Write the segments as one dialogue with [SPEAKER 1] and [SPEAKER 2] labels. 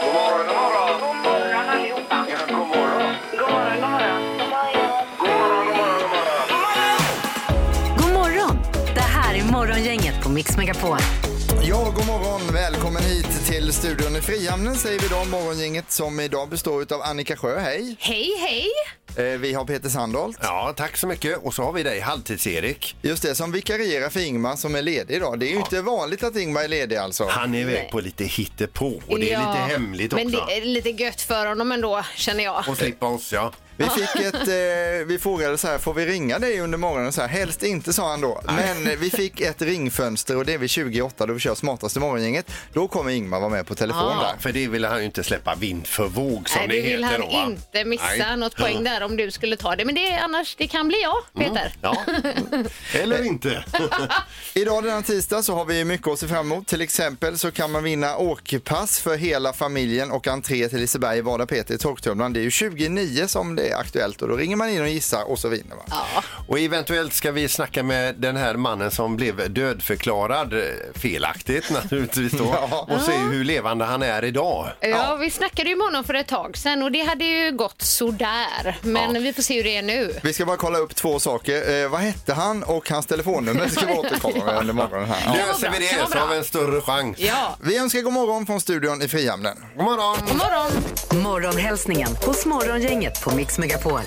[SPEAKER 1] God morgon, god morgon. God morgon allihopa. Ja, god morgon. God morgon, god morgon.
[SPEAKER 2] God
[SPEAKER 1] God morgon, god morgon, god morgon.
[SPEAKER 2] morgon! Det här är Morgongänget på Mix Megapol.
[SPEAKER 3] Ja, god morgon. Välkommen hit till studion i Frihamnen säger vi då. Morgongänget som idag består av Annika Sjö, hej.
[SPEAKER 4] Hej, hej!
[SPEAKER 3] Eh, Vi har Peter Sandholt.
[SPEAKER 5] Ja, tack så mycket. Och så har vi dig, Halvtids-Erik.
[SPEAKER 3] Just det, som vikarierar för Ingmar som är ledig idag. Det är ju inte vanligt att Ingmar är ledig alltså.
[SPEAKER 5] Han är iväg på lite hittepå och det är
[SPEAKER 4] Ja,
[SPEAKER 5] lite hemligt också.
[SPEAKER 4] Men det är lite gött för honom ändå, känner jag.
[SPEAKER 5] Och slippa oss, ja.
[SPEAKER 3] Vi fick ett, eh, vi frågade så här, får vi ringa dig under morgonen? Så här, helst inte sa han då. Men eh, vi fick ett ringfönster och det är vid 28 då vi kör smartaste morgongänget. Då kommer Ingmar vara med på telefon
[SPEAKER 4] Ah.
[SPEAKER 3] där.
[SPEAKER 5] För det ville han ju inte släppa vind för våg som
[SPEAKER 4] Nej,
[SPEAKER 5] det
[SPEAKER 4] det vill
[SPEAKER 5] heter
[SPEAKER 4] han
[SPEAKER 5] då, va?
[SPEAKER 4] inte missa
[SPEAKER 5] Nej.
[SPEAKER 4] något poäng där om du skulle ta det. Men det, är- annars, det kan bli jag,
[SPEAKER 5] Mm.
[SPEAKER 4] Peter.
[SPEAKER 5] Ja, eller inte.
[SPEAKER 3] Idag denna tisdag så har vi mycket att se fram emot. Till exempel så kan man vinna åkpass för hela familjen och entré till Liseberg, Vada, Peter i Torktumlaren. Det är ju 29 som det är aktuellt och då ringer man in och gissar och så vinner man.
[SPEAKER 5] Och eventuellt ska vi snacka med den här mannen som blev dödförklarad, eh, felaktigt naturligtvis då,
[SPEAKER 3] Ja.
[SPEAKER 5] och se hur levande han är idag.
[SPEAKER 4] Ja. vi snackade ju med honom för ett tag sedan och det hade ju gått sådär. Men vi får se hur det är nu.
[SPEAKER 3] Vi ska bara kolla upp två saker. Eh, vad hette han och hans telefonnummer ska vi återkomma med under morgonen här. Ja.
[SPEAKER 5] Löser vi
[SPEAKER 4] bra, det var
[SPEAKER 5] det så har vi en större chans.
[SPEAKER 4] Ja,
[SPEAKER 3] Vi önskar god morgon från studion i Frihamnen.
[SPEAKER 5] God morgon!
[SPEAKER 4] god morgon!
[SPEAKER 2] Morgonhälsningen hos Morgongänget på Mix Megapol.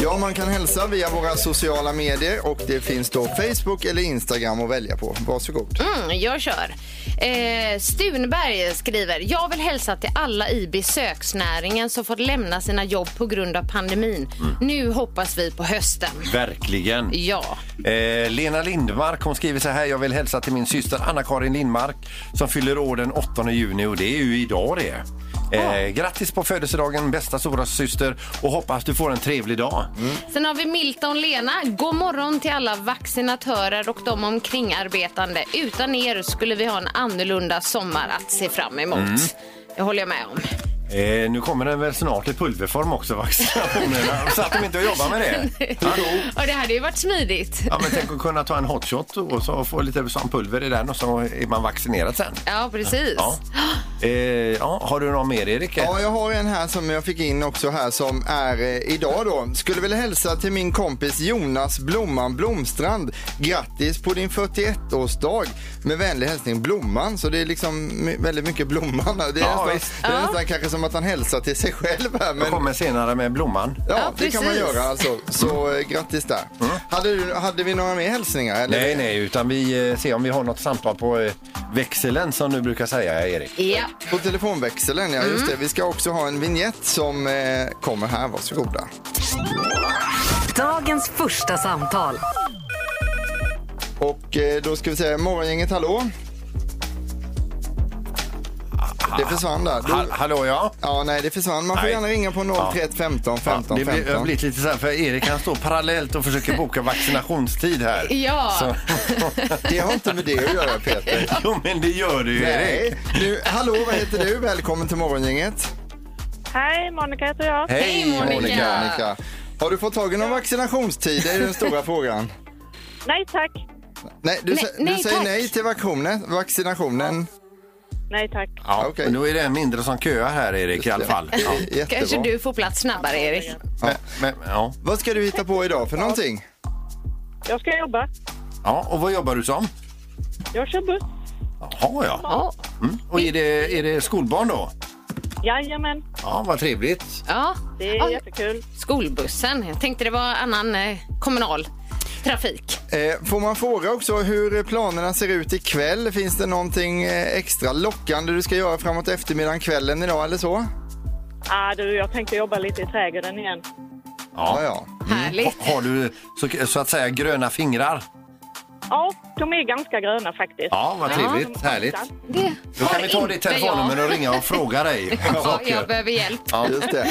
[SPEAKER 3] Ja, man kan hälsa via våra sociala medier och det finns då Facebook eller Instagram att välja på. Varsågod.
[SPEAKER 4] Mm, jag kör. Eh, Stunberg skriver, jag vill hälsa till alla i besöksnäringen som fått lämna sina jobb på grund av pandemin.
[SPEAKER 5] Mm.
[SPEAKER 4] Nu hoppas vi på hösten.
[SPEAKER 5] Verkligen.
[SPEAKER 4] Ja.
[SPEAKER 5] Eh, Lena Lindmark hon skriver så här. Jag vill hälsa till min syster Anna-Karin Lindmark som fyller år den 8 juni och det är ju idag det. Eh, grattis på födelsedagen bästa stora syster och hoppas du får en trevlig dag.
[SPEAKER 4] Sen har vi Milton Lena. God morgon till alla vaccinatörer och de omkringarbetande. Utan er skulle vi ha en annorlunda sommar att se fram emot.
[SPEAKER 5] Mm.
[SPEAKER 4] Det håller jag med om.
[SPEAKER 5] Eh, nu kommer den väl snart i pulverform också vaccinationerna. så att de inte jobbar med det. Hallå?
[SPEAKER 4] Ja, det hade ju varit smidigt.
[SPEAKER 5] Ja, men tänk att kunna ta en hotshot och så få lite sån pulver i den och så är man vaccinerad sen.
[SPEAKER 4] Ja, precis.
[SPEAKER 5] Ja. Eh, ja, har du någon mer Erik?
[SPEAKER 3] Ja, jag har en här som jag fick in också här som är eh, idag då. Skulle vilja hälsa till min kompis Jonas Blomman Blomstrand. Grattis på din 41-årsdag. Med vänlig hälsning Blomman. Så det är liksom my- väldigt mycket Blomman här. Det är,
[SPEAKER 5] Ja,
[SPEAKER 3] nästan,
[SPEAKER 5] visst.
[SPEAKER 3] det är nästan kanske som att han hälsar till sig själv här.
[SPEAKER 5] Jag
[SPEAKER 3] Men...
[SPEAKER 5] kommer senare med blomman.
[SPEAKER 3] Ja,
[SPEAKER 4] Ja,
[SPEAKER 3] det kan man
[SPEAKER 4] precis.
[SPEAKER 3] göra alltså. Så eh, grattis där. Hade, du, hade vi några mer hälsningar? Eller?
[SPEAKER 5] Mm. Nej, nej, utan vi eh, ser om vi har något samtal på eh, växeln som du brukar säga, Erik.
[SPEAKER 4] Ja.
[SPEAKER 3] På telefonväxeln, ja
[SPEAKER 5] Mm.
[SPEAKER 3] just det. Vi ska också ha en vignett som eh, kommer här. Varsågoda.
[SPEAKER 2] Dagens första samtal.
[SPEAKER 3] Och eh, då ska vi säga morgongänget, hallå? Det försvann där.
[SPEAKER 5] Ha,
[SPEAKER 3] Du,
[SPEAKER 5] hallå, ja.
[SPEAKER 3] ja, nej, det försvann. Man får
[SPEAKER 5] Nej.
[SPEAKER 3] gärna ringa på 031 15
[SPEAKER 5] Ja,
[SPEAKER 3] 15
[SPEAKER 5] det blir, det har
[SPEAKER 3] 15.
[SPEAKER 5] blivit lite så här, för Erik han står parallellt och försöker boka vaccinationstid här.
[SPEAKER 4] Ja.
[SPEAKER 5] Så,
[SPEAKER 3] Det har inte med det att göra, Peter.
[SPEAKER 5] jo, men det gör du ju, Erik.
[SPEAKER 3] Nej. Nu, hallå, vad heter du? Välkommen till morgongänget.
[SPEAKER 6] Hej, Monica heter jag.
[SPEAKER 4] Hej, Monica.
[SPEAKER 3] Annika. Har du fått tag i någon vaccinationstid? Det är den stora frågan.
[SPEAKER 6] Nej tack.
[SPEAKER 3] Nej, du,
[SPEAKER 4] Nej,
[SPEAKER 3] sä- du
[SPEAKER 4] nej,
[SPEAKER 3] säger
[SPEAKER 4] tack.
[SPEAKER 3] nej till vaccinationen. vaccinationen.
[SPEAKER 6] Nej tack.
[SPEAKER 5] Ja,
[SPEAKER 3] Okej.
[SPEAKER 5] men Då är det en mindre som köar här, Erik, i alla fall. Ja.
[SPEAKER 3] Jättebra.
[SPEAKER 4] Kanske du får plats snabbare, Erik.
[SPEAKER 5] Men, men, ja.
[SPEAKER 3] Vad ska du hitta på idag för någonting?
[SPEAKER 6] Jag ska jobba.
[SPEAKER 5] ja, och vad jobbar du som?
[SPEAKER 6] Jag kör buss.
[SPEAKER 5] Jaha, ja.
[SPEAKER 4] Ja.
[SPEAKER 5] Mm. Och är det, är det skolbarn då?
[SPEAKER 6] Jajamän,
[SPEAKER 5] Ja, vad trevligt.
[SPEAKER 4] Ja.
[SPEAKER 6] det är
[SPEAKER 4] Ja,
[SPEAKER 6] jättekul.
[SPEAKER 4] Skolbussen. Jag tänkte det var annan eh, kommunal trafik.
[SPEAKER 3] Eh, får man fråga också hur planerna ser ut ikväll? Finns det någonting eh, extra lockande du ska göra framåt eftermiddagen, kvällen idag eller så?
[SPEAKER 6] Ah, du, jag tänkte jobba lite i trädgården igen.
[SPEAKER 3] Ja, ja.
[SPEAKER 5] Mm.
[SPEAKER 4] Härligt.
[SPEAKER 5] Har du så, så att säga gröna fingrar?
[SPEAKER 6] Ja, de är ganska gröna faktiskt.
[SPEAKER 5] Ja, vad trevligt.
[SPEAKER 6] De är
[SPEAKER 5] Härligt.
[SPEAKER 6] vita.
[SPEAKER 4] Det
[SPEAKER 5] Då kan
[SPEAKER 4] har
[SPEAKER 5] vi ta
[SPEAKER 4] inte
[SPEAKER 5] ditt telefonnummer
[SPEAKER 4] jag.
[SPEAKER 5] och ringa och fråga dig. om
[SPEAKER 4] Ja,
[SPEAKER 5] saker.
[SPEAKER 4] jag behöver hjälp.
[SPEAKER 5] Ja.
[SPEAKER 3] Just det.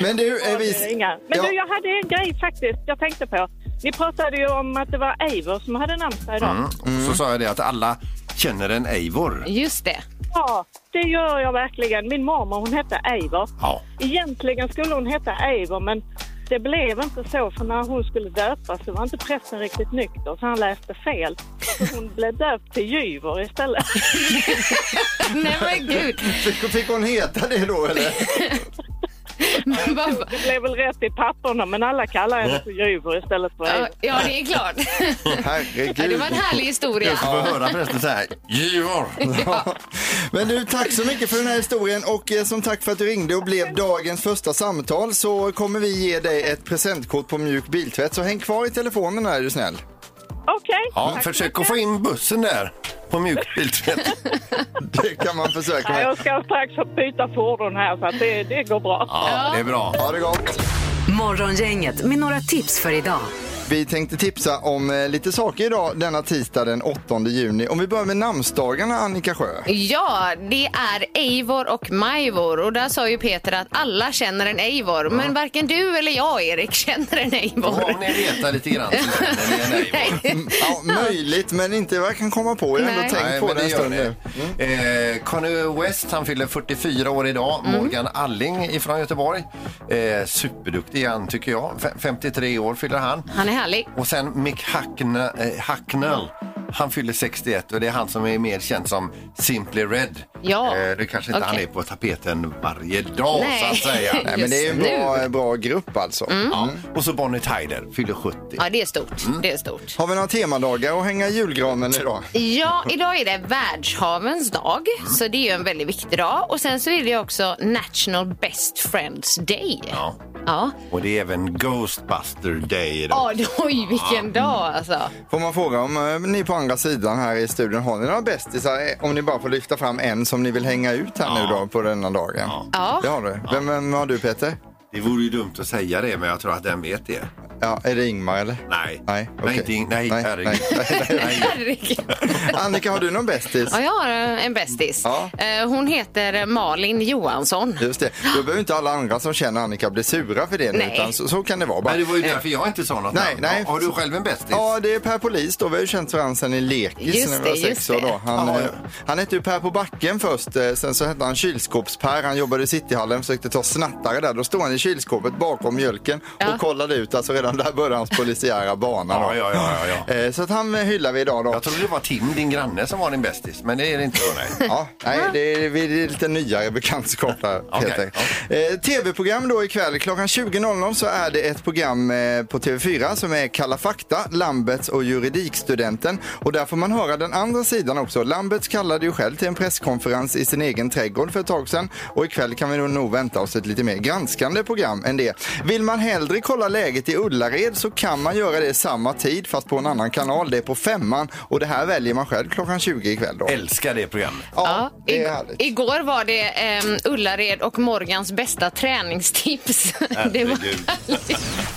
[SPEAKER 3] Men du,
[SPEAKER 6] Ja,
[SPEAKER 3] är
[SPEAKER 6] det är
[SPEAKER 3] vi...
[SPEAKER 6] inga. Men
[SPEAKER 3] Ja.
[SPEAKER 6] du, jag hade en grej faktiskt jag tänkte på. Ni pratade ju om att det var Eivor som hade namnsdag idag.
[SPEAKER 5] Och Mm. så sa jag det att alla känner en Eivor.
[SPEAKER 4] Just det.
[SPEAKER 6] Ja, det gör jag verkligen. Min mormor hon hette Eivor.
[SPEAKER 5] Ja.
[SPEAKER 6] Egentligen skulle hon heta Eivor men det blev inte så för när hon skulle döpas så var inte prästen riktigt nykter så han läste fel. så hon blev döpt till Gyvor istället.
[SPEAKER 4] Nej men gud.
[SPEAKER 3] Fick, fick hon heta det då eller?
[SPEAKER 4] Men vad-
[SPEAKER 6] Det blev väl rätt i papperna, men alla kallar henne för Gyvor istället för Eivor.
[SPEAKER 4] Ja, det är klart. Ja,
[SPEAKER 3] Herregud.
[SPEAKER 4] det var en härlig historia.
[SPEAKER 5] Jag ska få höra förresten så här. Gyvor!
[SPEAKER 3] Ja. Men du, tack så mycket för den här historien och eh, som tack för att du ringde och blev dagens första samtal så kommer vi ge dig ett presentkort på mjuk biltvätt. Så häng kvar i telefonen här är du snäll.
[SPEAKER 6] Okej,
[SPEAKER 5] Ja,
[SPEAKER 6] tack så
[SPEAKER 5] försök att
[SPEAKER 6] mycket.
[SPEAKER 5] få in bussen där på mjukt biltvätt.
[SPEAKER 3] Det kan man försöka
[SPEAKER 6] Ja,
[SPEAKER 3] med.
[SPEAKER 6] Jag ska strax byta fordon här, så att det, det går bra.
[SPEAKER 5] Ja, det är bra.
[SPEAKER 3] Ha det gott.
[SPEAKER 2] Morgongänget med några tips för idag.
[SPEAKER 3] Vi tänkte tipsa om eh, lite saker idag denna tisdag den 8 juni. Om vi börjar med namnsdagarna Annika Sjö.
[SPEAKER 4] Ja, det är Eivor och Majvor och där sa ju Peter att alla känner en Eivor, men varken du eller jag Erik känner en Eivor.
[SPEAKER 5] Om ni retar lite grann så känner ni en Eivor.
[SPEAKER 4] Nej.
[SPEAKER 3] Mm, Ja, möjligt men inte vad jag kan komma på. Jag har ändå
[SPEAKER 4] Nej.
[SPEAKER 3] tänkt
[SPEAKER 5] Nej,
[SPEAKER 3] på
[SPEAKER 5] men
[SPEAKER 3] det en
[SPEAKER 5] gör
[SPEAKER 3] stund
[SPEAKER 5] ni.
[SPEAKER 3] nu.
[SPEAKER 5] Eh, Conny West, han fyller 44 år idag. Morgan Alling ifrån Göteborg. Eh, superduktig han tycker jag. F- 53 år fyller han.
[SPEAKER 4] Han är härlig.
[SPEAKER 5] Och sen Mick Hackne, eh, Hacknell. Han fyller 61 och det är han som är mer känd som Simply Red.
[SPEAKER 4] Ja.
[SPEAKER 5] Eh, det kanske inte
[SPEAKER 4] Okej.
[SPEAKER 5] han är på tapeten varje dag
[SPEAKER 4] Nej.
[SPEAKER 5] så att säga.
[SPEAKER 3] Nej, men det är ju en
[SPEAKER 4] Just Mm.
[SPEAKER 3] bra, eh, bra grupp alltså.
[SPEAKER 5] Ja. Och så Bonnie Tyler fyller 70.
[SPEAKER 4] Ja, det är stort. Det är stort.
[SPEAKER 3] Har vi några temadagar att hänga i julgranen idag?
[SPEAKER 4] Ja, idag är det världshavens dag, så det är ju en väldigt viktig dag. Och sen så är det också National Best Friends Day.
[SPEAKER 5] Ja.
[SPEAKER 4] Ja,
[SPEAKER 5] Och det är även Ghostbuster Day idag.
[SPEAKER 4] ja det, oj vilken dag alltså.
[SPEAKER 3] Får man fråga om eh, ni på andra sidan här i studion har ni några bästisar? Eh, Om ni bara får lyfta fram en som ni vill hänga ut här nu då på denna dagen.
[SPEAKER 4] Ja.
[SPEAKER 3] Det har du. Vem, vem har du Peter?
[SPEAKER 5] Det vore ju dumt att säga det, men jag tror att den vet det.
[SPEAKER 3] Ja, är det Ingmar eller?
[SPEAKER 5] Nej.
[SPEAKER 3] Nej,
[SPEAKER 5] nej,
[SPEAKER 3] okej.
[SPEAKER 5] inte, in- nej,
[SPEAKER 3] Nej,
[SPEAKER 5] herregud.
[SPEAKER 3] nej,
[SPEAKER 4] Herregud.
[SPEAKER 3] Annika, har du någon bästis?
[SPEAKER 4] Ja, jag har eh, en bästis.
[SPEAKER 3] Ja.
[SPEAKER 4] Eh, Hon heter Malin Johansson.
[SPEAKER 3] Just det. Då behöver inte alla andra som känner Annika bli sura för det. nu,
[SPEAKER 4] Nej.
[SPEAKER 3] Utan så, så kan det vara. Bara.
[SPEAKER 5] Men det var ju därför jag inte sa något
[SPEAKER 3] Nej,
[SPEAKER 5] namn.
[SPEAKER 3] nej.
[SPEAKER 5] Har du själv en bästis?
[SPEAKER 3] Ja, det är Per Polis då. Vi har ju känt varandra sedan i lekis
[SPEAKER 4] Just
[SPEAKER 3] när vi var
[SPEAKER 4] det, just
[SPEAKER 3] sex år.
[SPEAKER 4] det.
[SPEAKER 3] Då. Han,
[SPEAKER 5] Ja,
[SPEAKER 3] eh,
[SPEAKER 5] ja.
[SPEAKER 3] han hette ju Per på backen först. eh, Sen så hette han Kylskåps-Per. Han jobbade i Cityhallen, försökte ta snattare där. Då stod han i kylskåpet bakom mjölken
[SPEAKER 4] Ja.
[SPEAKER 3] och kollade ut. Alltså redan där började hans polisiära bana. Då.
[SPEAKER 5] ja, ja, ja, ja, ja.
[SPEAKER 3] Eh, Så att han eh, hyllar vi idag då.
[SPEAKER 5] Jag trodde det var Tim, din granne, som var din bästis, men det är det inte. då, Nej.
[SPEAKER 3] Ja, nej, det är, vi är lite nyare bekantskap där,
[SPEAKER 5] Okej,
[SPEAKER 3] Peter. Eh, Tv-program då ikväll. Klockan 20.00 så är det ett program eh, på TV4 som är Kalla fakta, Lambets och juridikstudenten. Och där får man höra den andra sidan också. Lambets kallade ju själv till en presskonferens i sin egen trädgård för ett tag sedan. Och ikväll kan vi nog- nog vänta oss ett lite mer granskande program än det. Vill man hellre kolla läget i Ullared så kan man göra det samma tid fast på en annan kanal. Det är på femman och det här väljer man själv klockan 20 ikväll då.
[SPEAKER 5] Älskar det programmet.
[SPEAKER 3] Ja, det är
[SPEAKER 4] ig-
[SPEAKER 3] härligt.
[SPEAKER 4] igår var det ehm, Ullared och Morgans bästa träningstips. det var
[SPEAKER 5] Herregud.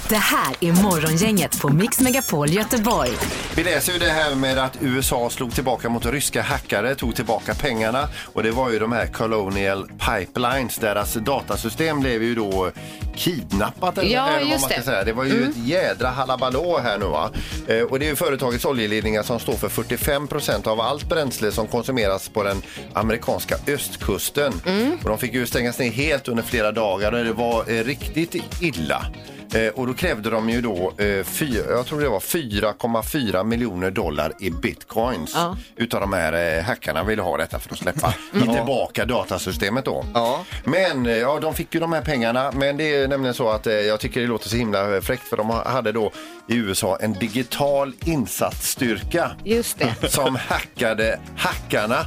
[SPEAKER 2] Det här är Morgongänget på Mix Megapol Göteborg.
[SPEAKER 5] Vi läser ju det här med att USA slog tillbaka mot ryska hackare, tog tillbaka pengarna och det var ju de här Colonial Pipelines, deras datasystem blev ju då kidnappat eller
[SPEAKER 4] Ja,
[SPEAKER 5] eller vad man
[SPEAKER 4] just
[SPEAKER 5] ska
[SPEAKER 4] det.
[SPEAKER 5] säga. Det var ju ett jädra halabalå här nu va. Eh, och det är ju företagets oljeledningar som står för 45 procent av allt bränsle som konsumeras på den amerikanska östkusten. Och de fick ju stängas ner helt under flera dagar och det var eh, riktigt illa. Eh, och då krävde de ju då, eh, fy, jag tror det var 4,4 miljoner dollar i bitcoins.
[SPEAKER 4] Ja.
[SPEAKER 5] Utav de här eh, hackarna ville ha detta för att släppa tillbaka datasystemet då.
[SPEAKER 3] Ja.
[SPEAKER 5] Men eh, ja, de fick ju de här pengarna. Men det är nämligen så att eh, jag tycker det låter så himla eh, fräckt för de hade då i USA en digital insatsstyrka
[SPEAKER 4] Just det.
[SPEAKER 5] som hackade hackarna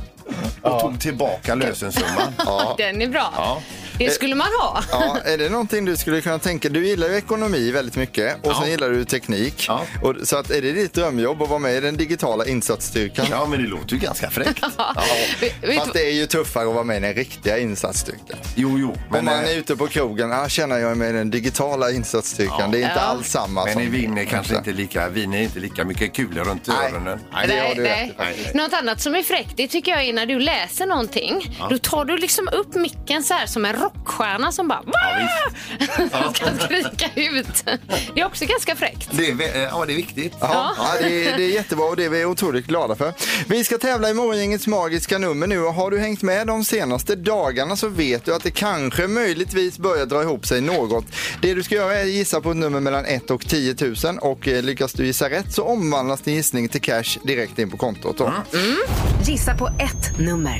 [SPEAKER 5] och tog tillbaka lösensumman.
[SPEAKER 4] Den är bra.
[SPEAKER 5] Ja.
[SPEAKER 4] Det skulle man ha.
[SPEAKER 3] Ja, är det någonting du skulle kunna tänka? Du gillar ju ekonomi väldigt mycket och sen gillar du teknik.
[SPEAKER 5] Ja.
[SPEAKER 3] Och, så att, är det ditt drömjobb att vara med i den digitala insatsstyrkan?
[SPEAKER 5] Ja, men det låter ju ganska fräckt. Ja.
[SPEAKER 4] Vet- vet
[SPEAKER 3] Fast det är ju tuffare att vara med i den riktiga insatsstyrkan.
[SPEAKER 5] Jo, jo.
[SPEAKER 3] Om man
[SPEAKER 5] eh,
[SPEAKER 3] är ute på krogen, ah, känner jag är med i den digitala insatsstyrkan. Det är inte
[SPEAKER 4] Ja.
[SPEAKER 3] alls samma
[SPEAKER 5] Men
[SPEAKER 3] som...
[SPEAKER 5] i vin är kanske inte lika, vin är inte lika mycket kulor runt
[SPEAKER 3] Nej.
[SPEAKER 5] öronen.
[SPEAKER 3] Nej, det har du rätt i.
[SPEAKER 5] Nej.
[SPEAKER 4] Något annat som är fräckt, det tycker jag är när du läser någonting. Då tar du liksom upp micken så här som en rockstjärna som bara "Ah!" ska skrika ut. Det är också ganska fräckt.
[SPEAKER 5] Det är, vä- eh, ja, det är viktigt.
[SPEAKER 3] Ja, ja det, är, det är jättebra och det är vi otroligt glada för. Vi ska tävla i Morgongängets magiska nummer nu och har du hängt med de senaste dagarna så vet du att det kanske möjligtvis börjar dra ihop sig något. Det du ska göra är att gissa på ett nummer mellan 1 och 10 000 och eh, lyckas du gissa rätt så omvandlas din gissning till cash direkt in på kontot. Då.
[SPEAKER 2] Gissa på ett nummer.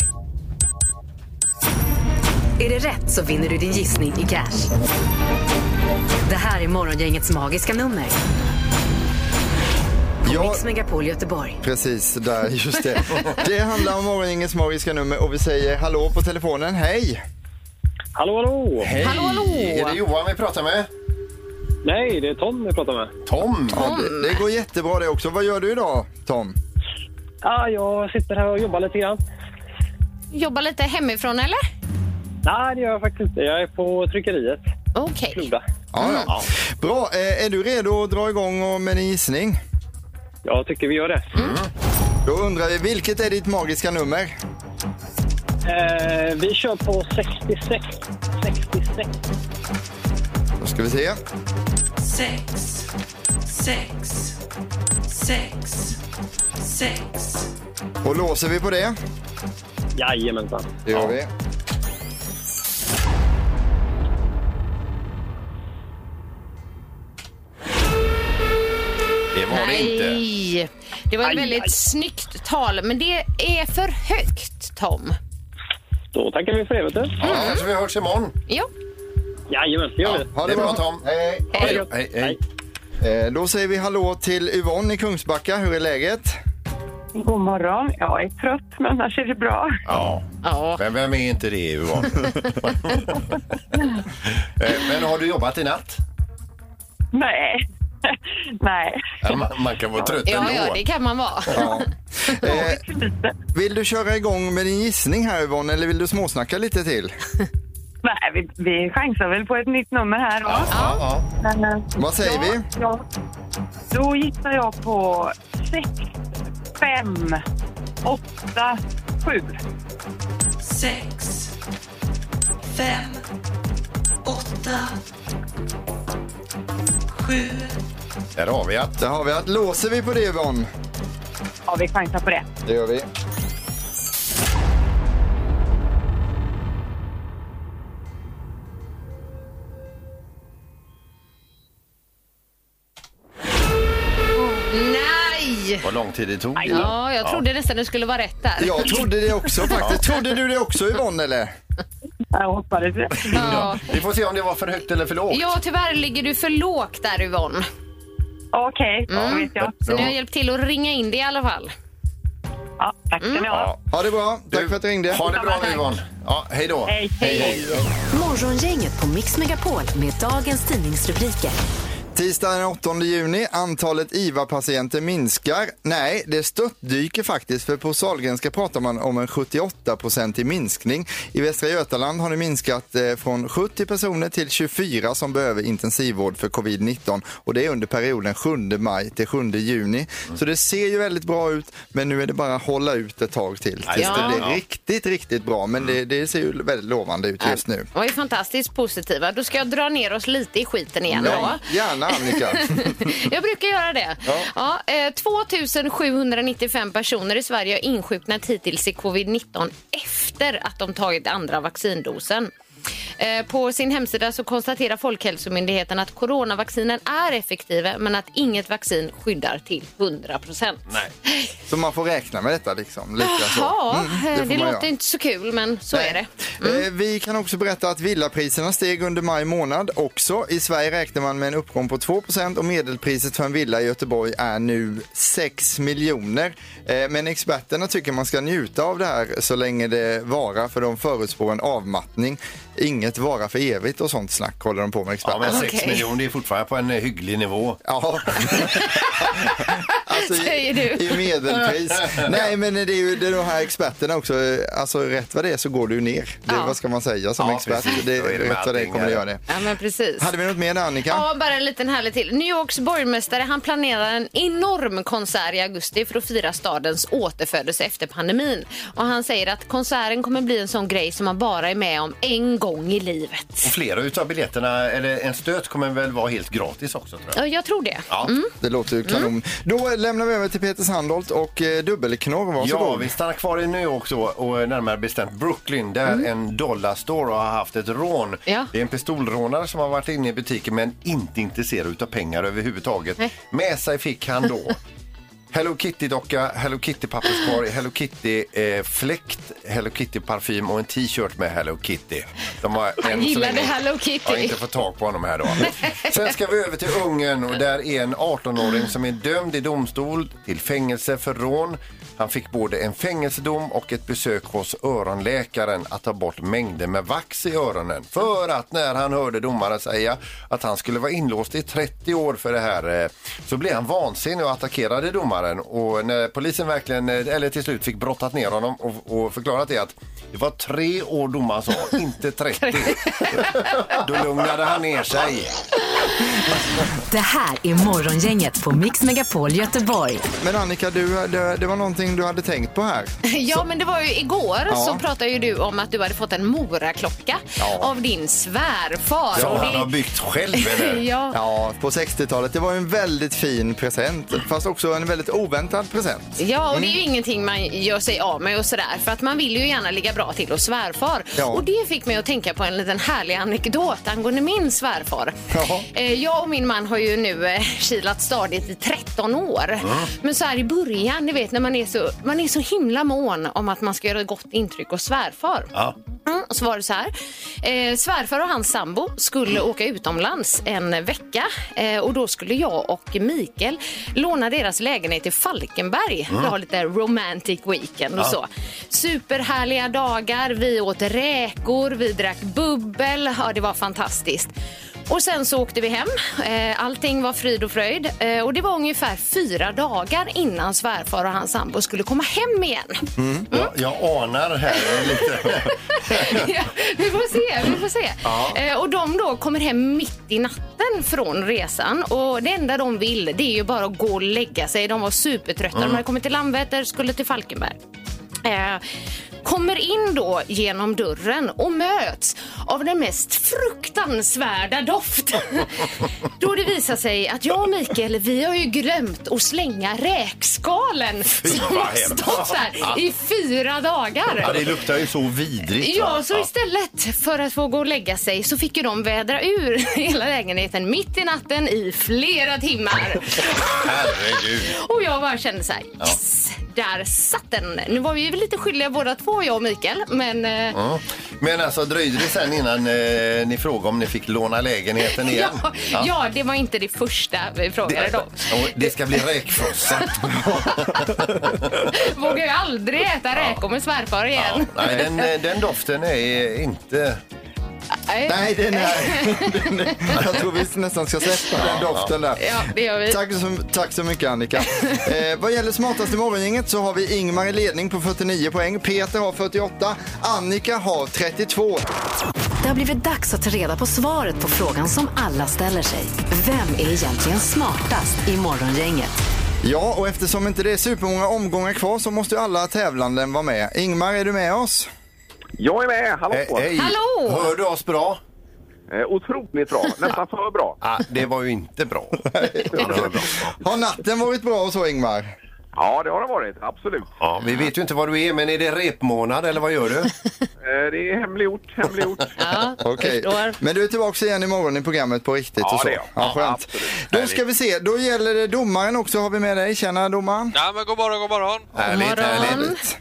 [SPEAKER 2] Är det rätt så vinner du din gissning i cash. Det här är Morgongängets magiska nummer. På
[SPEAKER 3] Ja.
[SPEAKER 2] Mix Megapol Göteborg.
[SPEAKER 3] Precis, där, just det. Det handlar om Morgongängets magiska nummer och vi säger hallå på telefonen. Hej!
[SPEAKER 7] Hallå, hallå!
[SPEAKER 5] Hej!
[SPEAKER 4] Hallå, hallå!
[SPEAKER 5] Är det Johan vi pratar med?
[SPEAKER 7] Nej, det är Tom jag pratar med.
[SPEAKER 5] Tom?
[SPEAKER 3] Ja, det, det går jättebra det också. Vad gör du idag, Tom?
[SPEAKER 7] Ah, jag sitter här och jobbar lite grann.
[SPEAKER 4] Jobba lite hemifrån eller?
[SPEAKER 7] Nej, det gör jag faktiskt inte. Jag är på tryckeriet.
[SPEAKER 4] Okej.
[SPEAKER 7] Floda.
[SPEAKER 3] Ja,
[SPEAKER 8] Mm.
[SPEAKER 3] ja. Bra, eh, är du redo att dra igång och- med din gissning?
[SPEAKER 7] Jag tycker vi gör det.
[SPEAKER 3] Då undrar vi, vilket är ditt magiska nummer?
[SPEAKER 7] Eh, vi kör på 66. 66.
[SPEAKER 3] Då ska vi se.
[SPEAKER 9] sex, sex, sex, sex.
[SPEAKER 3] Och låser vi på det?
[SPEAKER 7] Jajamensan.
[SPEAKER 3] Det gör vi.
[SPEAKER 5] Det var det inte.
[SPEAKER 4] Nej. Det var ett
[SPEAKER 7] Aj,
[SPEAKER 4] väldigt
[SPEAKER 7] aj.
[SPEAKER 4] snyggt tal, men det är för högt, Tom.
[SPEAKER 7] Då tackar vi för det, vet du.
[SPEAKER 5] Ja, kanske vi hörs imorgon.
[SPEAKER 4] Ja.
[SPEAKER 7] Jajamän, det gör vi.
[SPEAKER 3] Ha
[SPEAKER 5] Det är bra, Tom.
[SPEAKER 3] Hej,
[SPEAKER 7] Ha det gött.
[SPEAKER 5] Hej, hej.
[SPEAKER 3] hej. Eh, Då säger vi hallå till Yvonne i Kungsbacka. Hur är läget?
[SPEAKER 10] God morgon. Jag är trött, men annars är det bra.
[SPEAKER 5] Ja.
[SPEAKER 4] ja.
[SPEAKER 5] Men vem är inte det, Yvonne? Eh, Men har du jobbat i natt?
[SPEAKER 10] Nej. Nej.
[SPEAKER 5] Ja, Man, man kan vara trött
[SPEAKER 4] Ja,
[SPEAKER 5] ändå.
[SPEAKER 4] ja, det kan man vara.
[SPEAKER 3] Ja. Eh, vill du köra igång med din gissning här Yvonne eller vill du småsnacka lite till?
[SPEAKER 10] Nej, vi, vi chansar väl på ett nytt nummer här då.
[SPEAKER 5] Ja, ja.
[SPEAKER 10] Men, eh,
[SPEAKER 3] Vad säger
[SPEAKER 10] ja,
[SPEAKER 3] vi?
[SPEAKER 10] Ja, då gissar jag på sex, fem, åtta, sju.
[SPEAKER 9] sex, fem, åtta, sju.
[SPEAKER 5] Där har vi att.
[SPEAKER 3] Där har vi att. Låser vi på det Yvonne?
[SPEAKER 10] Ja, vi chansar på det.
[SPEAKER 3] Det gör vi.
[SPEAKER 4] Nej!
[SPEAKER 5] Vad lång tid det tog.
[SPEAKER 4] Ja, jag trodde nästan det skulle vara rätt där.
[SPEAKER 3] Jag trodde det också faktiskt. Trodde du det också Yvonne eller?
[SPEAKER 10] Jag hoppades det.
[SPEAKER 4] Ja.
[SPEAKER 5] Vi får se om det var för högt eller för lågt.
[SPEAKER 4] Ja, tyvärr ligger du för lågt där Yvonne.
[SPEAKER 10] Okej, då vet jag.
[SPEAKER 4] Så nu har jag hjälpt till att ringa in det i alla fall.
[SPEAKER 10] Ja, tack ska ni ha.
[SPEAKER 3] Ha det bra. Tack
[SPEAKER 5] Du-
[SPEAKER 3] för att du ringde.
[SPEAKER 5] Ha det bra nu, Yvonne. Ja, hej då.
[SPEAKER 10] Hej, hej.
[SPEAKER 2] Morgongänget på Mix Megapol med dagens tidningsrubriker.
[SPEAKER 3] Tisdagen den 8 juni, antalet IVA-patienter minskar. Nej, det störtdyker faktiskt för på Sahlgrenska pratar man om en 78-procentig minskning. I Västra Götaland har det minskat eh, från 70 personer till 24 som behöver intensivvård för covid-19 och det är under perioden 7 maj till 7 juni. Så det ser ju väldigt bra ut, men nu är det bara att hålla ut ett tag till tills
[SPEAKER 4] Ja.
[SPEAKER 3] det blir riktigt, riktigt bra. Men det, det ser ju väldigt lovande ut just nu.
[SPEAKER 4] De var ju fantastiskt positiva. Då ska jag dra ner oss lite i skiten igen då.
[SPEAKER 3] Gärna Annika.
[SPEAKER 4] Jag brukar göra det. Ja. eh, 2795 personer i Sverige har insjuknat hittills i covid-19 efter att de tagit andra vaccindosen. Eh, På sin hemsida så konstaterar Folkhälsomyndigheten att coronavaccinen är effektiva men att inget vaccin skyddar till 100 procent.
[SPEAKER 3] Så man får räkna med detta liksom. Lika så.
[SPEAKER 4] Ja,
[SPEAKER 3] det
[SPEAKER 4] eh, det,
[SPEAKER 3] får man
[SPEAKER 4] låter
[SPEAKER 3] göra.
[SPEAKER 4] inte så kul, men så är det. Mm.
[SPEAKER 3] Eh, Vi kan också berätta att villapriserna steg under maj månad också. I Sverige räknar man med en uppgång på 2 och medelpriset för en villa i Göteborg är nu 6 miljoner. Eh, Men experterna tycker man ska njuta av det här så länge det varar för de förutspår en avmattning. Inget vara för evigt och sånt snack håller de på med
[SPEAKER 5] Ja,
[SPEAKER 3] experterna.
[SPEAKER 5] men 6
[SPEAKER 4] Okej.
[SPEAKER 5] miljoner det är fortfarande på en eh, hygglig nivå.
[SPEAKER 3] Ja. alltså,
[SPEAKER 4] Säger du.
[SPEAKER 3] I, I medelpris. Nej, men det är ju det är de här experterna också. Alltså rätt vad det är så går du ju ner. Det,
[SPEAKER 4] Ja.
[SPEAKER 3] Vad ska man säga som
[SPEAKER 5] Ja,
[SPEAKER 3] expert?
[SPEAKER 5] precis.
[SPEAKER 3] Det,
[SPEAKER 5] Då är det med
[SPEAKER 3] rätt vad det
[SPEAKER 5] allting,
[SPEAKER 3] kommer du
[SPEAKER 5] ja.
[SPEAKER 3] göra det.
[SPEAKER 4] Ja, men precis.
[SPEAKER 3] Hade vi något mer där, Annika?
[SPEAKER 4] Ja, bara en liten härlig till. New Yorks borgmästare han planerar en enorm konsert i augusti för att fira stadens återfödelse efter pandemin. Och Han säger att konserten kommer bli en sån grej som man bara är med om en gång i i livet.
[SPEAKER 5] Och flera utav biljetterna, eller en stöt, kommer väl vara helt gratis också tror jag.
[SPEAKER 4] Ja, Mm. jag tror det.
[SPEAKER 5] Ja.
[SPEAKER 3] Det låter ju kanon. Då lämnar vi över till Peter Sandholt och eh, dubbelknorr. Varsågod.
[SPEAKER 5] Ja, vi stannar kvar i New York då och närmare bestämt Brooklyn där en dollarstore har haft ett rån.
[SPEAKER 4] Mm. Ja.
[SPEAKER 5] Det är en pistolrånare som har varit inne i butiken men inte intresserad av pengar överhuvudtaget.
[SPEAKER 4] Nej.
[SPEAKER 5] Med sig fick han då Hello Kitty-docka, Hello Kitty-papperskorg, Hello Kitty-fläkt, Hello Kitty-parfym och en t-shirt med Hello Kitty. De har än så
[SPEAKER 4] gillade
[SPEAKER 5] länge-
[SPEAKER 4] Hello Kitty.
[SPEAKER 5] Ja, inte fått tag på honom här då. Sen ska vi över till Ungern och där är en 18-åring som är dömd i domstol till fängelse för rån. Han fick både en fängelsedom och ett besök hos öronläkaren att ta bort mängder med vax i öronen. För att när han hörde domaren säga att han skulle vara inlåst i 30 år för det här eh, så blev han vansinnig och attackerade domaren. Och när polisen verkligen, eh, eller till slut fick brottat ner honom och, och förklarat det att det var tre år domaren sa, inte 30. Då lugnade han ner sig.
[SPEAKER 2] Det här är Morgongänget på Mix Megapol Göteborg.
[SPEAKER 3] Men Annika, du, det, det var någonting du hade tänkt på här.
[SPEAKER 4] Ja, men det var ju igår
[SPEAKER 3] Ja.
[SPEAKER 4] så pratade ju du om att du hade fått en moraklocka
[SPEAKER 5] Ja.
[SPEAKER 4] av din svärfar.
[SPEAKER 5] Som
[SPEAKER 4] Och
[SPEAKER 5] han
[SPEAKER 4] det-
[SPEAKER 5] har byggt själv eller?
[SPEAKER 4] ja.
[SPEAKER 3] Ja, på 60-talet. Det var ju en väldigt fin present, fast också en väldigt oväntad present.
[SPEAKER 4] Ja, och det är ju ingenting man gör sig av med och sådär. För att man vill ju gärna ligga bra till hos svärfar.
[SPEAKER 3] Ja.
[SPEAKER 4] Och det fick mig att tänka på en liten härlig anekdot angående min svärfar.
[SPEAKER 3] Jaha.
[SPEAKER 4] Eh, Jag och min man har ju nu eh, kilat stadigt i 13 år. Men så här i början, ni vet när man är, så, man är så himla mån om att man ska göra ett gott intryck hos svärfar.
[SPEAKER 5] Ja.
[SPEAKER 4] Mm, och så var det så här. Eh, svärfar och hans sambo skulle åka utomlands en vecka eh, och då skulle jag och Mikael låna deras lägenhet i Falkenberg. Vi har lite romantic weekend och så. Superhärliga dagar. Vi åt räkor, vi drack bubbel. Ja, det var fantastiskt. Och sen så åkte vi hem. Eh, Allting var fryd och fröjd. Eh, Och det var ungefär fyra dagar innan svärfar och hans sambo skulle komma hem igen.
[SPEAKER 5] Jag, jag anar här lite.
[SPEAKER 4] ja, vi får se. Vi får se. Eh, och de då kommer hem mitt i natten från resan och det enda de vill det är ju bara att gå och lägga sig. De var supertrötta.
[SPEAKER 5] Mm.
[SPEAKER 4] De hade kommit till Landvetter, skulle till Falkenberg. Eh, kommer in då genom dörren och möts av den mest fruktansvärda doft. då det visar sig att jag och Mikael, vi har ju glömt att slänga räkskalen som
[SPEAKER 5] vad
[SPEAKER 4] har
[SPEAKER 5] hemskt.
[SPEAKER 4] stått där i fyra dagar.
[SPEAKER 5] Ja, det luktar ju så vidrigt. va?
[SPEAKER 4] Ja, så istället för att få gå och lägga sig så fick ju de vädra ur hela lägenheten mitt i natten i flera timmar.
[SPEAKER 5] Herregud.
[SPEAKER 4] Och jag bara kände så här, yes! Där satt den! Nu var vi ju lite skyldiga båda två, jag och Mikael, men eh,
[SPEAKER 5] Ja. Men alltså dröjde det sen innan eh, ni frågade om ni fick låna lägenheten igen?
[SPEAKER 4] ja, ja, det var inte det första vi frågade
[SPEAKER 5] Det,
[SPEAKER 4] dem.
[SPEAKER 5] och det ska bli räkfrossa.
[SPEAKER 4] Vågar ju aldrig äta räkor med svärfar
[SPEAKER 5] Ja,
[SPEAKER 4] igen.
[SPEAKER 5] nej, den, eh, den doften är inte...
[SPEAKER 4] Nej.
[SPEAKER 3] Nej, den är... den är- Jag tror vi nästan ska släppa den doften där.
[SPEAKER 4] Ja, det gör vi.
[SPEAKER 3] Tack så, tack så mycket Annika. Eh, vad gäller smartaste morgongänget så har vi Ingmar i ledning på 49 poäng. Peter har 48. Annika har 32.
[SPEAKER 2] Det har blivit dags att ta reda på svaret på frågan som alla ställer sig. Vem är egentligen smartast i Morgongänget?
[SPEAKER 3] Ja, och eftersom inte det är supermånga omgångar kvar så måste ju alla tävlanden vara med. Ingmar, är du med oss?
[SPEAKER 1] Jag är med, hallå!
[SPEAKER 5] Eh, hej.
[SPEAKER 4] Hallå!
[SPEAKER 5] Hör du oss bra?
[SPEAKER 1] Eh, Otroligt bra, nästan för bra.
[SPEAKER 5] Ah, det var ju inte bra. Ja, det var bra.
[SPEAKER 3] Har natten varit bra och så Ingmar?
[SPEAKER 1] Ja, det har det varit, absolut.
[SPEAKER 5] Ja, vi vet ju inte vad du är, men är det repmånad eller vad gör du?
[SPEAKER 1] Eh, Det är hemliggjort, hemliggjort.
[SPEAKER 4] Ja,
[SPEAKER 3] Okej.
[SPEAKER 4] förstår.
[SPEAKER 3] Men du är tillbaka igen imorgon i programmet på riktigt
[SPEAKER 1] Ja,
[SPEAKER 3] och så?
[SPEAKER 1] det är jag.
[SPEAKER 3] Ja, skönt.
[SPEAKER 1] Absolut.
[SPEAKER 3] Då ska vi se, då gäller det domaren också. Har vi med dig? Tjena domaren.
[SPEAKER 11] Ja, men god morgon, god morgon.
[SPEAKER 5] Härligt,
[SPEAKER 4] morgon.
[SPEAKER 5] härligt.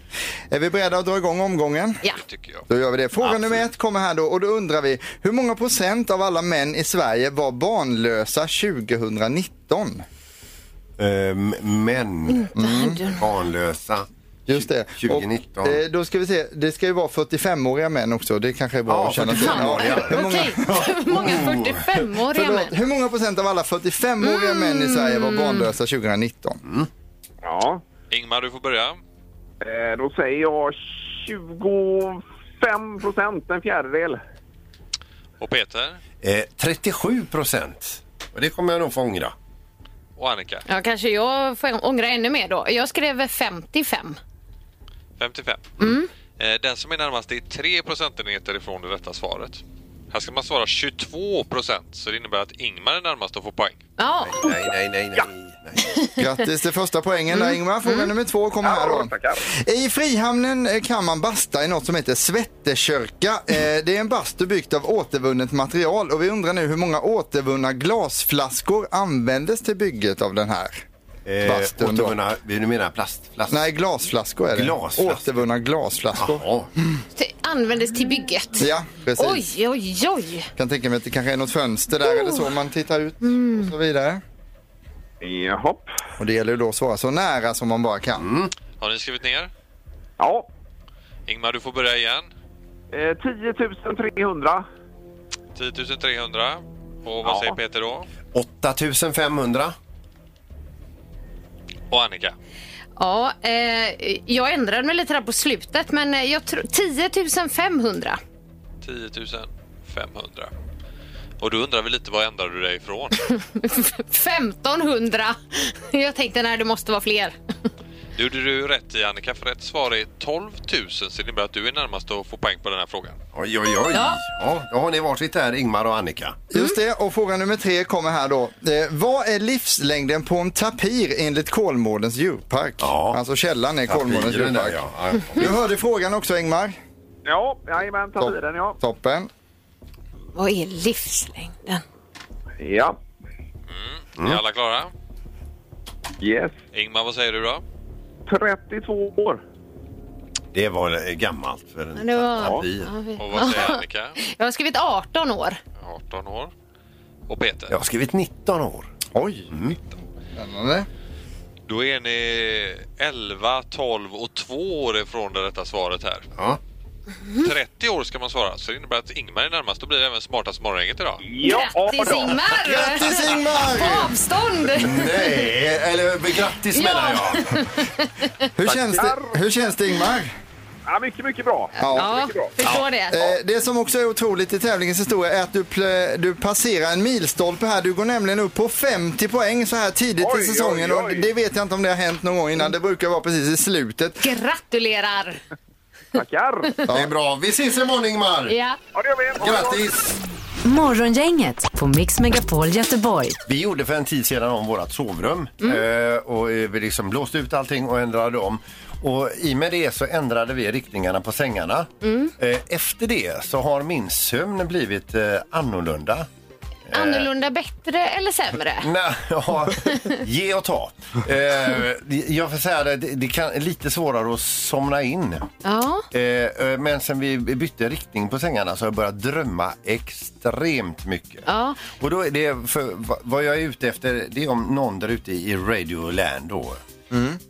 [SPEAKER 3] Är vi beredda att dra igång omgången?
[SPEAKER 4] Ja.
[SPEAKER 11] Tycker jag.
[SPEAKER 3] Då gör vi det. Fråga nummer ett kommer här då och då undrar vi hur många procent av alla män i Sverige var barnlösa 2019?
[SPEAKER 5] Ehm, män. Barnlösa.
[SPEAKER 3] Just det.
[SPEAKER 5] 2019.
[SPEAKER 3] Och, eh, då ska vi se, det ska ju vara 45-åriga män också. Det kanske är bra
[SPEAKER 5] Ja,
[SPEAKER 3] att känna till.
[SPEAKER 5] 45-åriga.
[SPEAKER 3] hur många,
[SPEAKER 4] Okej, många
[SPEAKER 5] Oh.
[SPEAKER 4] 45-åriga
[SPEAKER 3] förlåt,
[SPEAKER 4] män. Mm.
[SPEAKER 3] hur många procent av alla 45-åriga män i Sverige var barnlösa 2019?
[SPEAKER 1] Ja,
[SPEAKER 11] Ingmar, du får börja.
[SPEAKER 1] eh, då säger jag 25 procent, en fjärdedel.
[SPEAKER 11] Och Peter
[SPEAKER 5] Eh, 37 procent. Och det kommer jag nog få ångra.
[SPEAKER 11] och Annika.
[SPEAKER 4] Ja, kanske jag får ångra ännu mer då. Jag skrev 55.
[SPEAKER 11] 55. Eh, Den som är närmast är 3 procentenheter ifrån det rätta svaret. Här ska man svara 22 procent, så det innebär att Ingmar är närmast att få poäng.
[SPEAKER 4] Ja.
[SPEAKER 5] Nej, nej, nej, nej.
[SPEAKER 3] Grattis till första poängen där Ingmar. Fråga nummer två kommer här då. I Frihamnen eh, kan man basta i något som heter svettekörka. Eh, Det är en bastu byggt av återvunnet material och vi undrar nu hur många återvunna glasflaskor användes till bygget av den här?
[SPEAKER 5] Eh,
[SPEAKER 3] Bastun då.
[SPEAKER 5] återvunna- du menar plast? plast.
[SPEAKER 3] Nej, glasflaskor är det.
[SPEAKER 5] Glasflaskor.
[SPEAKER 3] Återvunna glasflaskor.
[SPEAKER 5] Jaha.
[SPEAKER 4] Det användes till bygget.
[SPEAKER 3] Ja, precis.
[SPEAKER 4] Oj, oj, oj.
[SPEAKER 3] Kan tänka mig att det kanske är något fönster där eller så man tittar ut och så vidare.
[SPEAKER 12] Jaha.
[SPEAKER 3] Och det gäller ju då att svara så nära som man bara kan.
[SPEAKER 11] Har ni skrivit ner?
[SPEAKER 12] Ja.
[SPEAKER 11] Ingmar, du får börja igen.
[SPEAKER 12] Eh, 10 300.
[SPEAKER 11] 10 300. Och vad
[SPEAKER 12] Ja.
[SPEAKER 11] säger Peter då?
[SPEAKER 5] 8500.
[SPEAKER 11] Och Annika?
[SPEAKER 4] Ja, eh, jag ändrade mig lite där på slutet, men eh, jag tror 10 500.
[SPEAKER 11] 10 500. Och då undrar vi lite, vad ändrade du dig ifrån?
[SPEAKER 4] 1500. Jag tänkte nej, det måste vara fler.
[SPEAKER 11] Det gjorde du rätt i Annika, för rätt svar är 12 000 så det innebär att du är närmast att få poäng på den här frågan.
[SPEAKER 5] Oj, oj, oj. Ja. då har ni varsitt där, Ingmar och Annika.
[SPEAKER 3] Just det, och fråga nummer tre kommer här då. Eh, vad är livslängden på en tapir enligt Kolmårdens djurpark? Alltså källan är Kolmårdens
[SPEAKER 5] Tapiren där,
[SPEAKER 3] djurpark.
[SPEAKER 5] ja. Ja.
[SPEAKER 3] Du hörde frågan också Ingmar.
[SPEAKER 12] Ja, jajamän, ta
[SPEAKER 3] Topp.
[SPEAKER 12] tiden ja.
[SPEAKER 3] Toppen.
[SPEAKER 4] Vad är livslängden?
[SPEAKER 12] Ja,
[SPEAKER 11] Är alla klara?
[SPEAKER 12] yes.
[SPEAKER 11] Ingmar, vad säger du då?
[SPEAKER 12] 32 år.
[SPEAKER 5] Det var eh, gammalt för en
[SPEAKER 4] Det var-
[SPEAKER 5] tapir.
[SPEAKER 4] Ja, vi-
[SPEAKER 11] Och vad säger Annika?
[SPEAKER 4] Jag har skrivit 18 år.
[SPEAKER 11] 18 år. Och Peter?
[SPEAKER 5] Jag har skrivit 19 år. Mm.
[SPEAKER 3] Oj, spännande.
[SPEAKER 11] Då är ni 11, 12 och 2 år ifrån det rätta svaret här.
[SPEAKER 5] Ja.
[SPEAKER 11] 30 år ska man svara, så det innebär att Ingmar är närmast. Då blir det även smartast morgongänget idag.
[SPEAKER 12] Ja,
[SPEAKER 4] Grattis
[SPEAKER 12] då.
[SPEAKER 4] Ingmar!
[SPEAKER 3] Grattis
[SPEAKER 4] På
[SPEAKER 3] Ingmar!
[SPEAKER 4] avstånd!
[SPEAKER 5] Nej, eller eh, grattis menar jag.
[SPEAKER 3] Hur känns det, hur känns det Ingmar?
[SPEAKER 12] Ja, mycket, mycket bra.
[SPEAKER 4] Ja, förstår det.
[SPEAKER 3] Eh, Det som också är otroligt i tävlingens historia är att du, pl- du passerar en milstolpe här. Du går nämligen upp på 50 poäng så här tidigt i
[SPEAKER 12] Oj,
[SPEAKER 3] säsongen.
[SPEAKER 12] oj,
[SPEAKER 3] Och
[SPEAKER 12] oj.
[SPEAKER 3] det vet jag inte om det har hänt någon gång innan. Det brukar vara precis i slutet.
[SPEAKER 4] Gratulerar!
[SPEAKER 12] Tackar.
[SPEAKER 5] Det är bra. Vi ses imorgon, Ingmar.
[SPEAKER 4] Ja.
[SPEAKER 12] Ja, det gör vi. Ha det bra.
[SPEAKER 5] Grattis!
[SPEAKER 2] Morgongänget på Mix Megapol Göteborg.
[SPEAKER 5] Vi gjorde för en tid sedan om vårt sovrum eh, och eh, vi liksom blåste ut allting och ändrade om. Och i och med det så ändrade vi riktningarna på sängarna. Eh, efter det så har min sömn blivit eh, annorlunda.
[SPEAKER 11] Eh.
[SPEAKER 4] Annorlunda bättre eller sämre?
[SPEAKER 5] Nej, ja, ge och ta. Eh, jag får säga det, det kan, är lite svårare att somna in.
[SPEAKER 4] Ja.
[SPEAKER 5] Eh, eh, men sen vi bytte riktning på sängarna så har jag börjat drömma extremt mycket.
[SPEAKER 4] Ja.
[SPEAKER 5] Och då är det för, va- vad jag är ute efter det är om någon där ute i Radioland då